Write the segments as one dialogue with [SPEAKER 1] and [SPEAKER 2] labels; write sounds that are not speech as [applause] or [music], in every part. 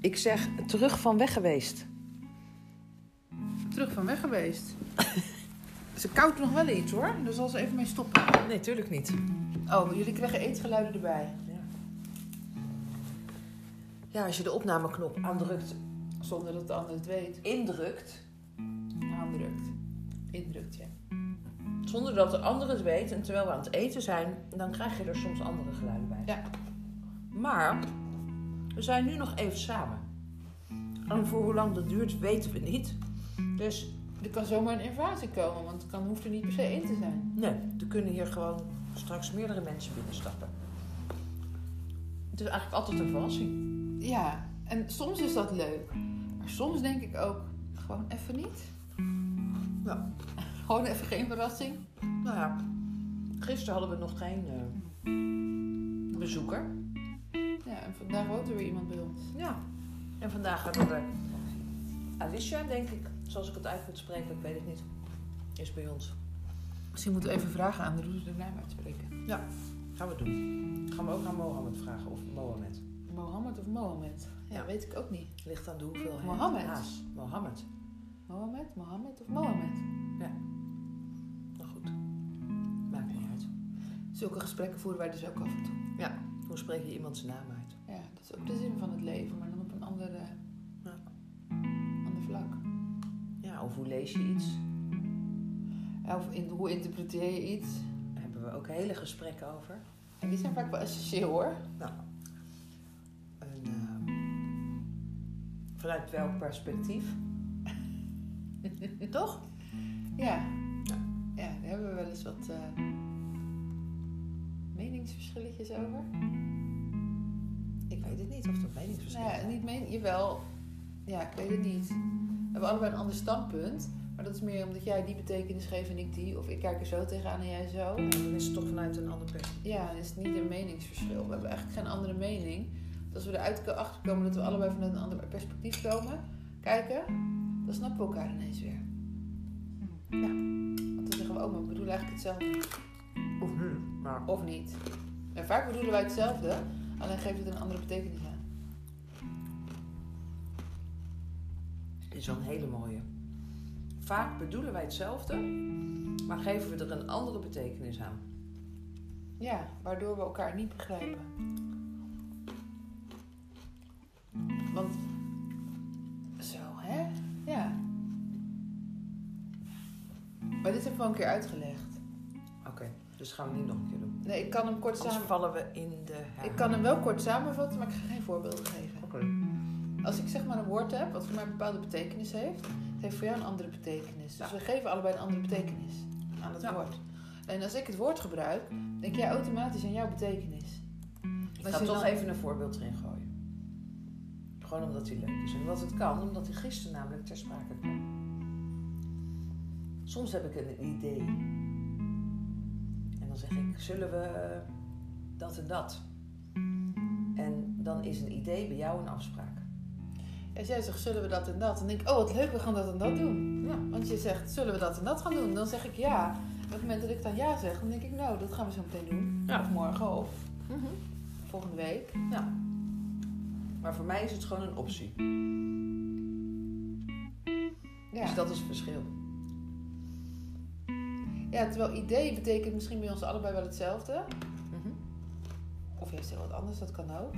[SPEAKER 1] Ik zeg terug van weg geweest.
[SPEAKER 2] Terug van weg geweest. ze koudt nog wel iets hoor, daar zal ze even mee stoppen.
[SPEAKER 1] Nee, tuurlijk niet.
[SPEAKER 2] Oh, jullie kregen eetgeluiden erbij.
[SPEAKER 1] Ja, als je de opnameknop aandrukt,
[SPEAKER 2] Zonder dat de ander het weet.
[SPEAKER 1] indrukt,
[SPEAKER 2] Aandrukt. Indrukt, ja.
[SPEAKER 1] zonder dat de ander het weet en terwijl we aan het eten zijn, dan krijg je er soms andere geluiden bij.
[SPEAKER 2] Ja.
[SPEAKER 1] Maar we zijn nu nog even samen. En voor hoe lang dat duurt, weten we niet. Dus
[SPEAKER 2] Er kan zomaar een invasie komen, want het kan, hoeft er niet per se in te zijn.
[SPEAKER 1] Nee, er kunnen hier gewoon straks meerdere mensen binnenstappen. Het is eigenlijk altijd een verrassing.
[SPEAKER 2] Ja, en soms is dat leuk. Maar soms denk ik ook, gewoon even niet.
[SPEAKER 1] Ja.
[SPEAKER 2] [laughs] Gewoon even geen verrassing.
[SPEAKER 1] Nou ja, gisteren hadden we nog geen eh, bezoeker.
[SPEAKER 2] Ja, en vandaag woont er weer iemand bij ons.
[SPEAKER 1] Ja. En vandaag hebben we Alicia, denk ik, zoals ik het uit moet spreken, ik weet het niet, is bij ons.
[SPEAKER 2] Misschien moeten we even vragen aan de hoe ze de naam uitspreken.
[SPEAKER 1] Gaan we doen. Gaan we ook aan Mohammed vragen, of Mohammed.
[SPEAKER 2] Mohammed of Mohammed? Ja, weet ik ook niet.
[SPEAKER 1] Ligt aan de hoeveelheid.
[SPEAKER 2] Mohammed.
[SPEAKER 1] haas. Mohammed.
[SPEAKER 2] Mohammed, Mohammed of Mohammed?
[SPEAKER 1] Nou goed, maakt niet uit.
[SPEAKER 2] Zulke gesprekken voeren wij dus ook af en toe.
[SPEAKER 1] Hoe spreek je iemand zijn naam uit?
[SPEAKER 2] Ja, dat is ook de zin van het leven, maar dan op een andere,
[SPEAKER 1] Ja.
[SPEAKER 2] ander vlak.
[SPEAKER 1] Ja, of hoe lees je iets?
[SPEAKER 2] Ja, Of in, hoe interpreteer je iets?
[SPEAKER 1] Daar hebben we ook hele gesprekken over.
[SPEAKER 2] En die zijn vaak wel essentieel hoor.
[SPEAKER 1] En, ehm, vanuit welk perspectief? Toch?
[SPEAKER 2] Ja. Ja, daar hebben we wel eens wat eh, meningsverschilletjes over.
[SPEAKER 1] Ik weet het niet of dat meningsverschil
[SPEAKER 2] Nou ja, niet meen, jawel. Ja, ik weet het niet. We hebben allebei een ander standpunt. Maar dat is meer omdat jij die betekenis geeft en ik die. Of ik kijk er zo tegenaan en jij zo.
[SPEAKER 1] Dan is het toch vanuit een ander perspectief.
[SPEAKER 2] Ja, dan is het niet een meningsverschil. We hebben eigenlijk geen andere mening. Dus als we eruit ko- achter komen dat we allebei vanuit een ander perspectief komen, kijken, dan snappen we elkaar ineens weer. Ja, want dan zeggen we ook, maar ik bedoel eigenlijk hetzelfde.
[SPEAKER 1] Of hmm, maar
[SPEAKER 2] Of niet. En vaak bedoelen wij hetzelfde, alleen geeft het een andere betekenis aan.
[SPEAKER 1] dit is wel een hele mooie. Vaak bedoelen wij hetzelfde, maar geven we er een andere betekenis aan.
[SPEAKER 2] Ja, waardoor we elkaar niet begrijpen. Want zo, hè? Ja. Maar dit hebben we al een keer uitgelegd.
[SPEAKER 1] Oké, dus gaan we niet nog een keer doen.
[SPEAKER 2] Nee, ik kan hem kort
[SPEAKER 1] Anders
[SPEAKER 2] samen...
[SPEAKER 1] vallen we in de
[SPEAKER 2] Ik kan hem wel kort samenvatten, maar ik ga geen voorbeelden geven.
[SPEAKER 1] Oké.
[SPEAKER 2] Als ik zeg maar een woord heb wat voor mij een bepaalde betekenis heeft, het heeft voor jou een andere betekenis. Dus
[SPEAKER 1] Ja.
[SPEAKER 2] we geven allebei een andere betekenis aan het
[SPEAKER 1] Ja.
[SPEAKER 2] woord. En als ik het woord gebruik, denk jij automatisch aan jouw betekenis.
[SPEAKER 1] Ik
[SPEAKER 2] Als
[SPEAKER 1] ga
[SPEAKER 2] je
[SPEAKER 1] toch
[SPEAKER 2] dan-
[SPEAKER 1] even een voorbeeld erin gooien. Gewoon omdat hij leuk is. En wat het kan, omdat hij gisteren namelijk ter sprake kwam. Soms heb ik een idee. En dan zeg ik, zullen we dat en dat? En dan is een idee bij jou een afspraak.
[SPEAKER 2] Als jij zegt, zullen we dat en dat? Dan denk ik, oh wat leuk, we gaan dat en dat doen.
[SPEAKER 1] Ja.
[SPEAKER 2] Want je zegt, zullen we dat en dat gaan doen? Dan zeg ik ja. En op het moment dat ik dan ja zeg, dan denk ik, nou, dat gaan we zo meteen doen.
[SPEAKER 1] Ja. Mhm. Dus
[SPEAKER 2] Of morgen, of volgende week.
[SPEAKER 1] Maar voor mij is het gewoon een optie.
[SPEAKER 2] Ja.
[SPEAKER 1] Dus dat is het verschil.
[SPEAKER 2] Ja, terwijl idee betekent misschien bij ons allebei wel hetzelfde. Mhm. Of juist heel wat anders, dat kan ook.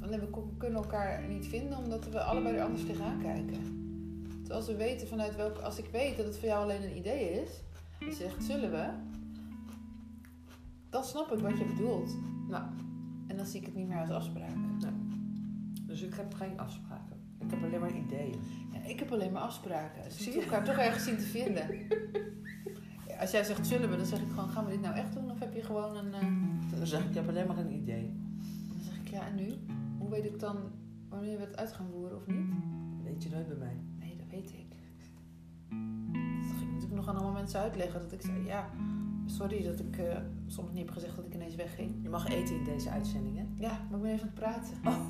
[SPEAKER 2] Alleen we ko- kunnen elkaar niet vinden omdat we allebei er anders tegenaan kijken. Terwijl als we weten vanuit welk... Als ik weet dat het voor jou alleen een idee is... En je zegt, zullen we? Dan snap ik wat je bedoelt. Nou,
[SPEAKER 1] Ja.
[SPEAKER 2] En dan zie ik het niet meer als afspraak.
[SPEAKER 1] Dus ik heb geen afspraken. Ik heb alleen maar ideeën. [laughs]
[SPEAKER 2] Ja, ik heb alleen maar afspraken. Dus
[SPEAKER 1] Zie
[SPEAKER 2] ik
[SPEAKER 1] je?
[SPEAKER 2] moet elkaar toch ergens zien te vinden. Ja, Als jij zegt, zullen we? Dan zeg ik gewoon, gaan we dit nou echt doen? Of heb je gewoon een... eh,
[SPEAKER 1] Dan zeg Dus ik, ik heb alleen maar een idee.
[SPEAKER 2] Dan zeg ik, ja, en nu? Hoe weet ik dan wanneer we het uit gaan voeren of niet?
[SPEAKER 1] Weet je nooit bij mij.
[SPEAKER 2] Nee, dat weet ik. Dat ging ik natuurlijk nog aan allemaal mensen uitleggen. Dat ik zei, ja, sorry dat ik eh, soms niet heb gezegd dat ik ineens wegging.
[SPEAKER 1] Je mag eten in deze uitzending, hè?
[SPEAKER 2] Ja, maar ik ben even aan het praten.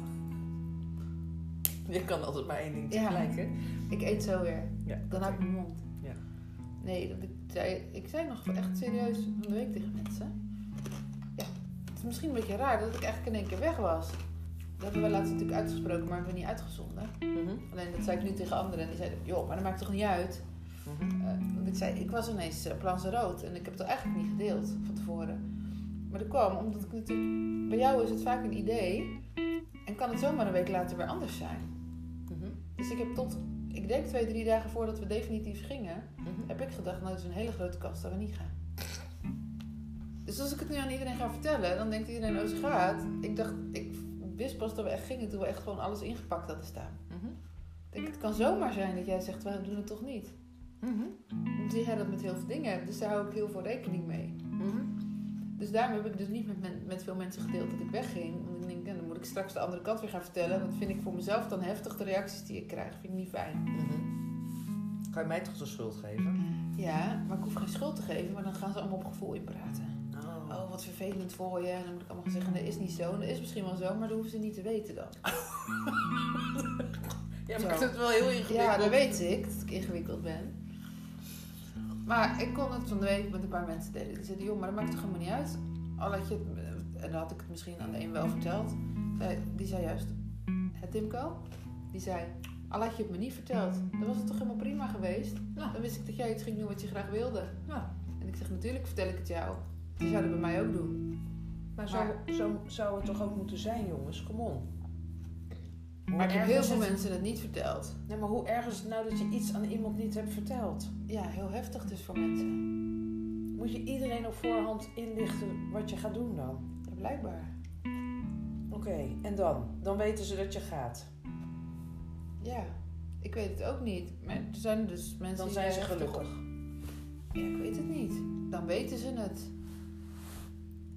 [SPEAKER 1] Je kan altijd maar één ding
[SPEAKER 2] Ja.
[SPEAKER 1] tegelijk, hè?
[SPEAKER 2] Ik eet zo weer.
[SPEAKER 1] Ja.
[SPEAKER 2] Dan hou ik mijn mond.
[SPEAKER 1] Ja.
[SPEAKER 2] Nee, dat ik, zei, ik zei nog echt serieus van de week tegen mensen. Ja, het is misschien een beetje raar dat ik eigenlijk in één keer weg was. Dat hebben we laatst natuurlijk uitgesproken, maar hebben we niet uitgezonden.
[SPEAKER 1] Mhm.
[SPEAKER 2] Alleen dat zei ik nu tegen anderen en die zeiden, joh, maar dat maakt toch niet uit?
[SPEAKER 1] Mhm.
[SPEAKER 2] Eh, want ik zei, ik was ineens eh, op Lanzarote en ik heb het eigenlijk niet gedeeld van tevoren. Maar dat kwam omdat ik natuurlijk... Bij jou is het vaak een idee en kan het zomaar een week later weer anders zijn.
[SPEAKER 1] Mhm.
[SPEAKER 2] Dus ik heb tot, ik denk twee, drie dagen voordat we definitief gingen,
[SPEAKER 1] Mhm.
[SPEAKER 2] heb ik gedacht, nou, dat is een hele grote kans dat we niet gaan. Dus als ik het nu aan iedereen ga vertellen, dan denkt iedereen, oh, ze gaat. Ik dacht, ik wist pas dat we echt gingen toen we echt gewoon alles ingepakt hadden staan.
[SPEAKER 1] Mhm.
[SPEAKER 2] Ik denk, het kan zomaar zijn dat jij zegt, we doen het toch niet.
[SPEAKER 1] Mhm.
[SPEAKER 2] Dan zie jij dat met heel veel dingen, dus daar hou ik heel veel rekening mee.
[SPEAKER 1] Mhm.
[SPEAKER 2] Dus daarom heb ik dus niet met, men- met veel mensen gedeeld dat ik wegging. Want ik denk, ja, dan moet ik straks de andere kant weer gaan vertellen. En dat vind ik voor mezelf dan heftig, de reacties die ik krijg. Vind ik niet fijn.
[SPEAKER 1] Mhm. Kan je mij toch de schuld geven?
[SPEAKER 2] Ja, maar ik hoef geen schuld te geven, maar dan gaan ze allemaal op gevoel inpraten.
[SPEAKER 1] Oh.
[SPEAKER 2] Oh, wat vervelend voor je. En dan moet ik allemaal gaan zeggen, dat is niet zo. En dat is misschien wel zo, maar dat hoeven ze niet te weten dan.
[SPEAKER 1] Ja,
[SPEAKER 2] Zo.
[SPEAKER 1] maar ik vind het wel heel
[SPEAKER 2] Ja,
[SPEAKER 1] ingewikkeld.
[SPEAKER 2] dat weet ik, dat ik ingewikkeld ben. Maar ik kon het van de week met een paar mensen delen. Die zeiden, joh, maar dat maakt toch helemaal niet uit? Al had je het, eh, en dan had ik het misschien aan de een wel verteld. Zei- Die zei juist, het Timco, die zei, al had je het me niet verteld, dan was het toch helemaal prima geweest?
[SPEAKER 1] Ja.
[SPEAKER 2] Dan wist ik dat jij iets ging doen wat je graag wilde.
[SPEAKER 1] Ja.
[SPEAKER 2] En ik zeg, natuurlijk vertel ik het jou. Die zouden bij mij ook doen.
[SPEAKER 1] Maar zo, zo zou het toch ook moeten zijn, jongens? Kom on. Hoe
[SPEAKER 2] Maar ik heb
[SPEAKER 1] erg
[SPEAKER 2] heel
[SPEAKER 1] is
[SPEAKER 2] veel
[SPEAKER 1] het-
[SPEAKER 2] mensen het niet verteld.
[SPEAKER 1] Nee, maar hoe erg is het nou dat je iets aan iemand niet hebt verteld?
[SPEAKER 2] Ja, heel heftig dus voor mensen.
[SPEAKER 1] Moet je iedereen op voorhand inlichten wat je gaat doen dan?
[SPEAKER 2] Ja, blijkbaar.
[SPEAKER 1] Oké, en dan? Dan weten ze dat je gaat.
[SPEAKER 2] Ja, ik weet het ook niet. Maar er zijn dus mensen
[SPEAKER 1] Dan
[SPEAKER 2] die
[SPEAKER 1] zijn ze
[SPEAKER 2] zeggen,
[SPEAKER 1] gelukkig.
[SPEAKER 2] Ja, ik weet het niet. Dan weten ze het.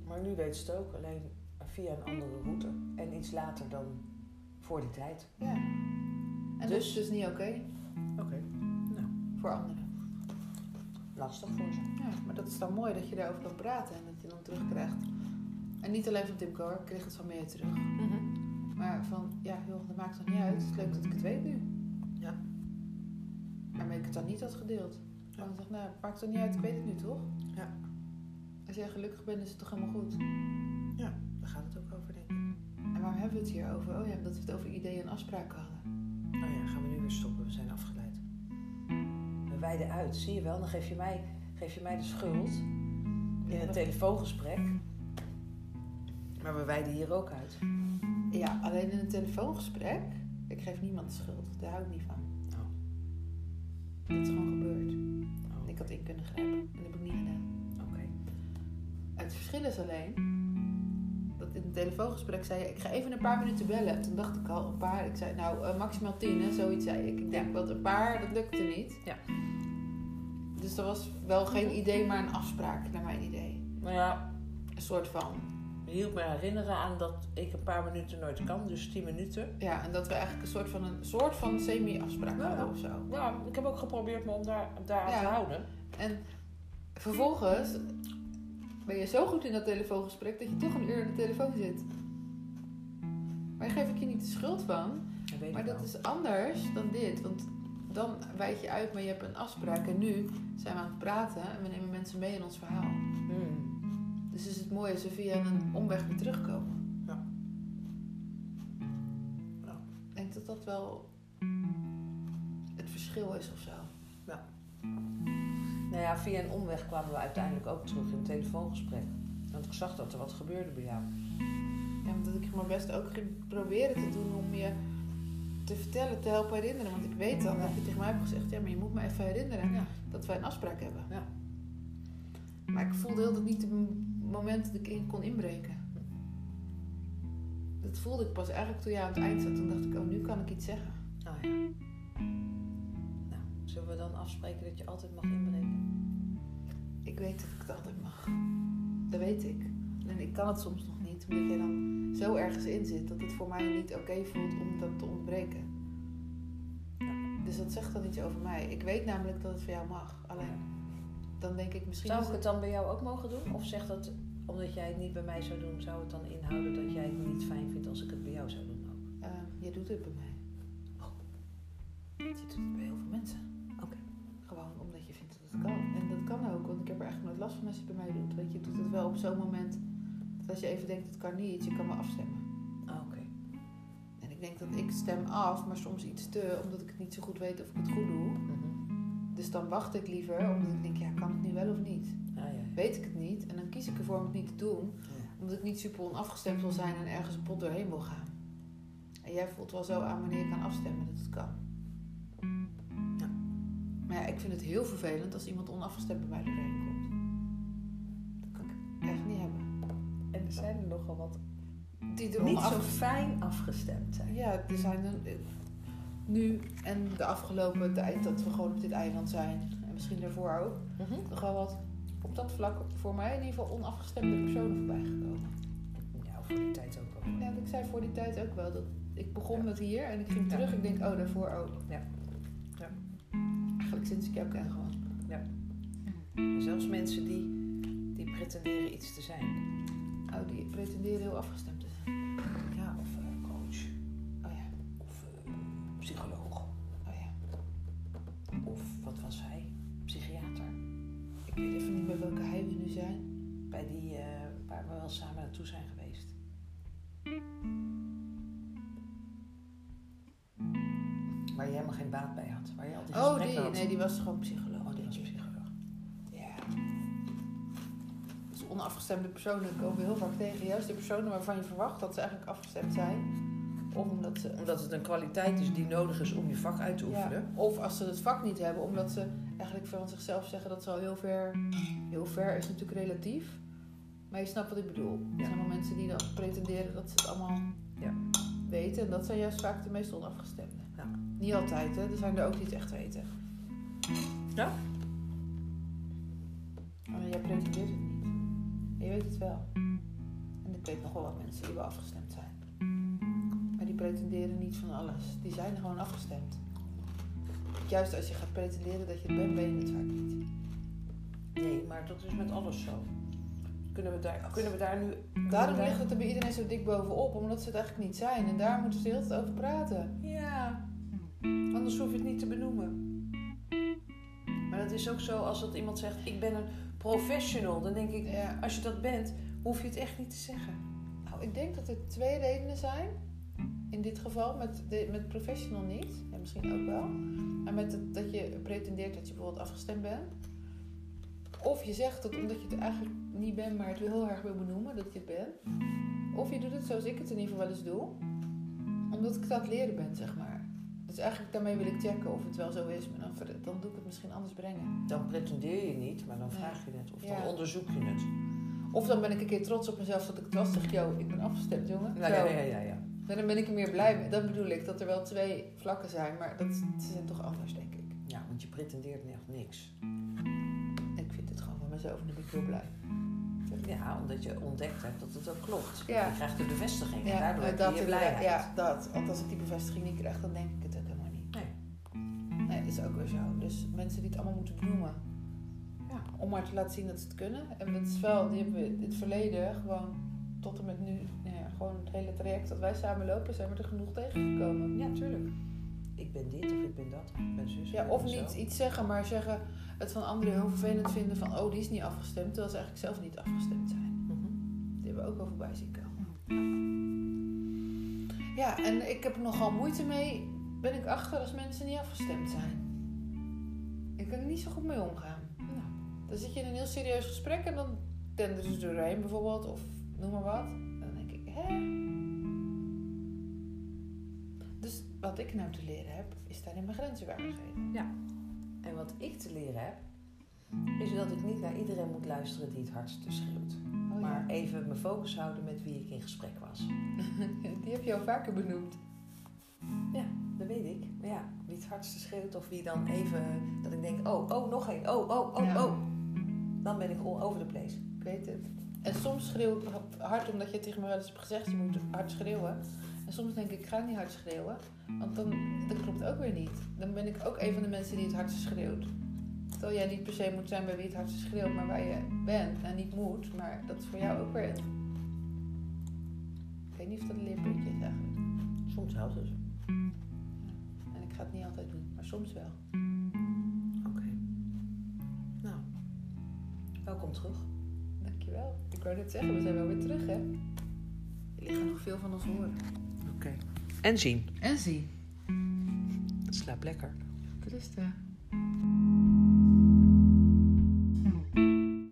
[SPEAKER 1] Maar nu weten ze het ook, alleen via een andere route. En iets later dan voor die tijd.
[SPEAKER 2] Ja. En dus, dat
[SPEAKER 1] Dus-
[SPEAKER 2] is dus niet oké
[SPEAKER 1] Oké.
[SPEAKER 2] voor anderen.
[SPEAKER 1] Lastig voor ze.
[SPEAKER 2] Ja, maar dat is dan mooi dat je daarover kan praten en dat je dan terugkrijgt. En niet alleen van Timco, hoor. ik kreeg het van meer terug.
[SPEAKER 1] Mhm.
[SPEAKER 2] Maar van, ja joh, dat maakt toch niet uit. Het is leuk dat ik het weet nu.
[SPEAKER 1] Ja.
[SPEAKER 2] Waarmee ik het dan niet had gedeeld. Ja. Dan dacht nou, het maakt toch niet uit. Ik weet het nu toch?
[SPEAKER 1] Ja.
[SPEAKER 2] Als jij gelukkig bent, is het toch helemaal goed.
[SPEAKER 1] Daar gaat het ook over, denk ik.
[SPEAKER 2] En waarom hebben we het hier over? Oh ja, omdat we het over ideeën en afspraken hadden.
[SPEAKER 1] Nou ja, gaan we nu weer stoppen. We zijn afgeleid. We wijden uit, zie je wel. Dan geef je mij, geef je mij de schuld in een telefoongesprek. Maar we wijden hier ook uit.
[SPEAKER 2] Ja, alleen in een telefoongesprek. Ik geef niemand de schuld. Daar hou ik niet van.
[SPEAKER 1] Oh.
[SPEAKER 2] Dit is gewoon gebeurd.
[SPEAKER 1] Oh,
[SPEAKER 2] Ik had in kunnen grijpen. En dat heb ik niet gedaan.
[SPEAKER 1] Oké.
[SPEAKER 2] Het verschil is alleen... Dat in een telefoongesprek zei je... Ik ga even een paar minuten bellen. Toen dacht ik al een paar. Ik zei nou eh, maximaal tien. Hè, zoiets zei ik. Ik denk wat een paar. Dat lukte niet.
[SPEAKER 1] Ja.
[SPEAKER 2] Dus dat was wel geen idee, maar een afspraak naar mijn idee.
[SPEAKER 1] Nou ja,
[SPEAKER 2] Een soort van.
[SPEAKER 1] je hielp me herinneren aan dat ik een paar minuten nooit kan. Dus 10 minuten.
[SPEAKER 2] Ja, en dat we eigenlijk een soort van een soort van semi-afspraak
[SPEAKER 1] Ja.
[SPEAKER 2] hadden of zo.
[SPEAKER 1] Nou, ik heb ook geprobeerd me om daar, daar aan
[SPEAKER 2] Ja.
[SPEAKER 1] te houden.
[SPEAKER 2] En vervolgens ben je zo goed in dat telefoongesprek dat je toch een uur aan de telefoon zit. Maar daar geef ik je niet de schuld van.
[SPEAKER 1] Dat weet
[SPEAKER 2] Maar
[SPEAKER 1] ik
[SPEAKER 2] dat
[SPEAKER 1] wel.
[SPEAKER 2] is anders dan dit. Want dan wijd je uit, maar je hebt een afspraak. En nu zijn we aan het praten en we nemen mensen mee in ons verhaal.
[SPEAKER 1] Hmm.
[SPEAKER 2] Dus is het mooi als ze via een omweg weer terugkomen.
[SPEAKER 1] Ja. Ja.
[SPEAKER 2] Ik denk dat dat wel het verschil is of zo.
[SPEAKER 1] Nou ja, via een omweg kwamen we uiteindelijk ook terug in een telefoongesprek. Want ik zag dat er wat gebeurde bij jou.
[SPEAKER 2] Ja, omdat ik mijn best ook ging proberen te doen om je te vertellen, te helpen herinneren. Want ik weet dan dat je tegen mij hebt gezegd, ja, maar je moet me even herinneren
[SPEAKER 1] Ja.
[SPEAKER 2] dat wij een afspraak hebben.
[SPEAKER 1] Ja.
[SPEAKER 2] Maar ik voelde heel dat niet het m- moment dat ik in kon inbreken. Dat voelde ik pas eigenlijk toen jij aan het eind zat. Toen dacht ik, oh, nu kan ik iets zeggen.
[SPEAKER 1] Oh ja. Nou, zullen we dan afspreken dat je altijd mag inbreken?
[SPEAKER 2] Ik weet dat ik het altijd mag. Dat weet ik. En ik kan het soms nog niet, omdat jij dan zo ergens in zit dat het voor mij niet oké voelt om dat te ontbreken. Dus dat zegt dan iets over mij. Ik weet namelijk dat het voor jou mag. Alleen, dan denk ik misschien...
[SPEAKER 1] Zou
[SPEAKER 2] is
[SPEAKER 1] ik het dan bij jou ook mogen doen? Of zegt dat omdat jij het niet bij mij zou doen, zou het dan inhouden dat jij het niet fijn vindt als ik het bij jou zou doen ook?
[SPEAKER 2] eh, je doet het bij mij.
[SPEAKER 1] Oh.
[SPEAKER 2] Je doet het bij heel veel mensen.
[SPEAKER 1] Oké.
[SPEAKER 2] Gewoon omdat je vindt dat het kan. En dat kan ook, want ik heb er eigenlijk nooit last van als je het bij mij doet. Want je doet het wel op zo'n moment dat als je even denkt, het kan niet, je kan me afstemmen.
[SPEAKER 1] Ah, oké.
[SPEAKER 2] ik denk dat ik stem af, maar soms iets te, omdat ik het niet zo goed weet of ik het goed doe.
[SPEAKER 1] Mhm.
[SPEAKER 2] Dus dan wacht ik liever, omdat ik denk, ja, kan het nu wel of niet?
[SPEAKER 1] Ah, ja, ja.
[SPEAKER 2] Weet ik het niet en dan kies ik ervoor om het niet te doen,
[SPEAKER 1] Ja.
[SPEAKER 2] omdat ik niet super onafgestemd wil zijn en ergens een pot doorheen wil gaan. En jij voelt wel zo aan wanneer je kan afstemmen dat het kan.
[SPEAKER 1] Ja.
[SPEAKER 2] Maar ja, ik vind het heel vervelend als iemand onafgestemd bij mij doorheen komt. Dat kan ik echt niet hebben.
[SPEAKER 1] En er zijn er nogal wat
[SPEAKER 2] Die er
[SPEAKER 1] niet zo
[SPEAKER 2] onafgestemd
[SPEAKER 1] fijn afgestemd zijn.
[SPEAKER 2] Ja, er zijn dan, eh, nu en de afgelopen tijd dat we gewoon op dit eiland zijn, en misschien daarvoor ook,
[SPEAKER 1] Mhm.
[SPEAKER 2] nog wel wat op dat vlak voor mij in ieder geval onafgestemde personen voorbij gekomen.
[SPEAKER 1] Ja, voor die tijd ook wel.
[SPEAKER 2] Ja, want ik zei voor die tijd ook wel dat ik begon
[SPEAKER 1] Ja.
[SPEAKER 2] met hier en ik ging
[SPEAKER 1] Ja.
[SPEAKER 2] terug. Ik denk, oh, daarvoor ook.
[SPEAKER 1] Ja. Ja.
[SPEAKER 2] Eigenlijk sinds ik jou ken gewoon.
[SPEAKER 1] Zelfs mensen die, die pretenderen iets te zijn.
[SPEAKER 2] Oh, die pretenderen heel afgestemd te zijn.
[SPEAKER 1] Ja, of eh, coach.
[SPEAKER 2] Oh ja,
[SPEAKER 1] Of eh, psycholoog.
[SPEAKER 2] oh ja.
[SPEAKER 1] Of wat was hij? Psychiater.
[SPEAKER 2] Ik weet even niet bij welke hij we nu zijn.
[SPEAKER 1] Bij die eh, waar we wel samen naartoe zijn geweest. Waar je helemaal geen baat bij had. Waar je altijd
[SPEAKER 2] Oh,
[SPEAKER 1] gesprekken
[SPEAKER 2] die.
[SPEAKER 1] had.
[SPEAKER 2] Nee, die was gewoon psycholoog.
[SPEAKER 1] Oh, die was
[SPEAKER 2] denk ik.
[SPEAKER 1] psycholoog.
[SPEAKER 2] Ja. Dus onafgestemde personen komen we heel vaak tegen. Juist de personen waarvan je verwacht dat ze eigenlijk afgestemd zijn. Of omdat ze
[SPEAKER 1] Omdat het een kwaliteit is die nodig is om je vak uit te oefenen.
[SPEAKER 2] Ja, of als ze het vak niet hebben, omdat ze eigenlijk van zichzelf zeggen dat ze al heel ver... Heel ver is natuurlijk relatief. Maar je snapt wat ik bedoel.
[SPEAKER 1] Ja.
[SPEAKER 2] Er zijn wel mensen die dan pretenderen dat ze het allemaal
[SPEAKER 1] Ja.
[SPEAKER 2] weten. En dat zijn juist vaak de meest onafgestemde.
[SPEAKER 1] Ja.
[SPEAKER 2] Niet altijd, hè. Er zijn er ook die het echt weten.
[SPEAKER 1] Ja.
[SPEAKER 2] Maar Oh, jij pretendeert het niet. En je weet het wel. En ik weet nog wel wat mensen die wel afgestemd zijn. Maar die pretenderen niet van alles. Die zijn gewoon afgestemd. Juist als je gaat pretenderen dat je het bent, ben je het vaak niet.
[SPEAKER 1] Nee, maar dat is met alles zo. Kunnen we daar, kunnen we daar nu...
[SPEAKER 2] Daarom ligt het er bij iedereen zo dik bovenop, omdat ze het eigenlijk niet zijn. En daar moeten ze de hele tijd over praten.
[SPEAKER 1] Ja, anders hoef je het niet te benoemen. Maar dat is ook zo als dat iemand zegt, ik ben een professional. Dan denk ik,
[SPEAKER 2] Ja.
[SPEAKER 1] als je dat bent, hoef je het echt niet te zeggen.
[SPEAKER 2] Nou, ik denk dat er twee redenen zijn. In dit geval met, de, met professional niet. Ja, misschien ook wel. Maar met het, dat je pretendeert dat je bijvoorbeeld afgestemd bent. Of je zegt dat omdat je het eigenlijk niet bent, maar het wel heel erg wil benoemen dat je het bent. Of je doet het zoals ik het in ieder geval wel eens doe. Omdat ik het aan het leren ben, zeg maar. Dus eigenlijk daarmee wil ik checken of het wel zo is. Maar dan, ver- dan doe ik het misschien anders brengen.
[SPEAKER 1] Dan pretendeer je niet, maar dan
[SPEAKER 2] Nee.
[SPEAKER 1] vraag je het. Of
[SPEAKER 2] Ja.
[SPEAKER 1] dan onderzoek je het.
[SPEAKER 2] Of dan ben ik een keer trots op mezelf dat ik het was. Zeg, yo, ik ben afgestemd, jongen.
[SPEAKER 1] Nou,
[SPEAKER 2] Zo.
[SPEAKER 1] ja, ja, ja, ja.
[SPEAKER 2] Maar dan ben ik er meer blij mee. Dat bedoel ik, dat er wel twee vlakken zijn, maar dat, ze zijn toch anders, denk ik.
[SPEAKER 1] Ja, want je pretendeert echt niks.
[SPEAKER 2] Ik vind het gewoon van mezelf en daar ben ik heel blij.
[SPEAKER 1] Ja, omdat je ontdekt hebt dat het ook klopt.
[SPEAKER 2] Ja.
[SPEAKER 1] Je krijgt de bevestiging en daardoor heb je
[SPEAKER 2] dat
[SPEAKER 1] je
[SPEAKER 2] inderdaad-
[SPEAKER 1] blijheid.
[SPEAKER 2] ja, dat. Want als ik die bevestiging niet krijg, dan denk ik het ook helemaal niet.
[SPEAKER 1] Nee.
[SPEAKER 2] Nee, dat is ook weer zo. Dus mensen die het allemaal moeten benoemen.
[SPEAKER 1] Ja.
[SPEAKER 2] Om maar te laten zien dat ze het kunnen. En dat is wel, die hebben we in het verleden gewoon tot en met nu, nou ja, gewoon het hele traject dat wij samen lopen, zijn we er genoeg tegengekomen.
[SPEAKER 1] Ja, tuurlijk. Ik ben dit of ik ben dat. Ik ben zus.
[SPEAKER 2] Dus Ja,
[SPEAKER 1] ik
[SPEAKER 2] of
[SPEAKER 1] ben zo.
[SPEAKER 2] niet iets zeggen, maar zeggen het van anderen heel vervelend vinden van oh, die is niet afgestemd, terwijl ze eigenlijk zelf niet afgestemd zijn.
[SPEAKER 1] Mhm.
[SPEAKER 2] Die hebben we ook wel voorbij zien komen. Ja, en ik heb er nogal moeite mee, ben ik achter als mensen niet afgestemd zijn. Ik kan er niet zo goed mee omgaan.
[SPEAKER 1] Nou.
[SPEAKER 2] Dan zit je in een heel serieus gesprek en dan tenderen ze doorheen bijvoorbeeld, of noem maar wat. En dan denk ik, hè? Dus wat ik nou te leren heb, is daarin mijn grenzen waargegeven.
[SPEAKER 1] En wat ik te leren heb, is dat ik niet naar iedereen moet luisteren die het hardst schreeuwt.
[SPEAKER 2] Oh, ja.
[SPEAKER 1] Maar even mijn focus houden met wie ik in gesprek was.
[SPEAKER 2] [laughs] Die heb je al vaker benoemd.
[SPEAKER 1] Dat weet ik. Maar ja, wie het hardste schreeuwt of wie dan even... Dat ik denk, oh, oh, nog één. Oh, oh, oh,
[SPEAKER 2] Ja.
[SPEAKER 1] oh. Dan ben ik all over the place.
[SPEAKER 2] Ik weet het. En soms schreeuw ik hard omdat je tegen me wel eens hebt gezegd, je moet hard schreeuwen. En soms denk ik, ik ga niet hard schreeuwen. Want dan, dat klopt ook weer niet. Dan ben ik ook een van de mensen die het hardst schreeuwt. Terwijl jij niet per se moet zijn bij wie het hardst schreeuwt, maar waar je bent. Nou, niet moet, maar dat is voor jou ook weer een... Ik weet niet of dat een leerpuntje is eigenlijk.
[SPEAKER 1] Soms houdt het.
[SPEAKER 2] En ik ga het niet altijd doen, maar soms wel.
[SPEAKER 1] Oké. Nou, welkom terug.
[SPEAKER 2] Dankjewel. Ik wou net zeggen, we zijn wel weer terug, hè? Jullie gaan nog veel van ons horen.
[SPEAKER 1] Oké. En zien.
[SPEAKER 2] En zie.
[SPEAKER 1] Het slaapt lekker.
[SPEAKER 2] Rustig.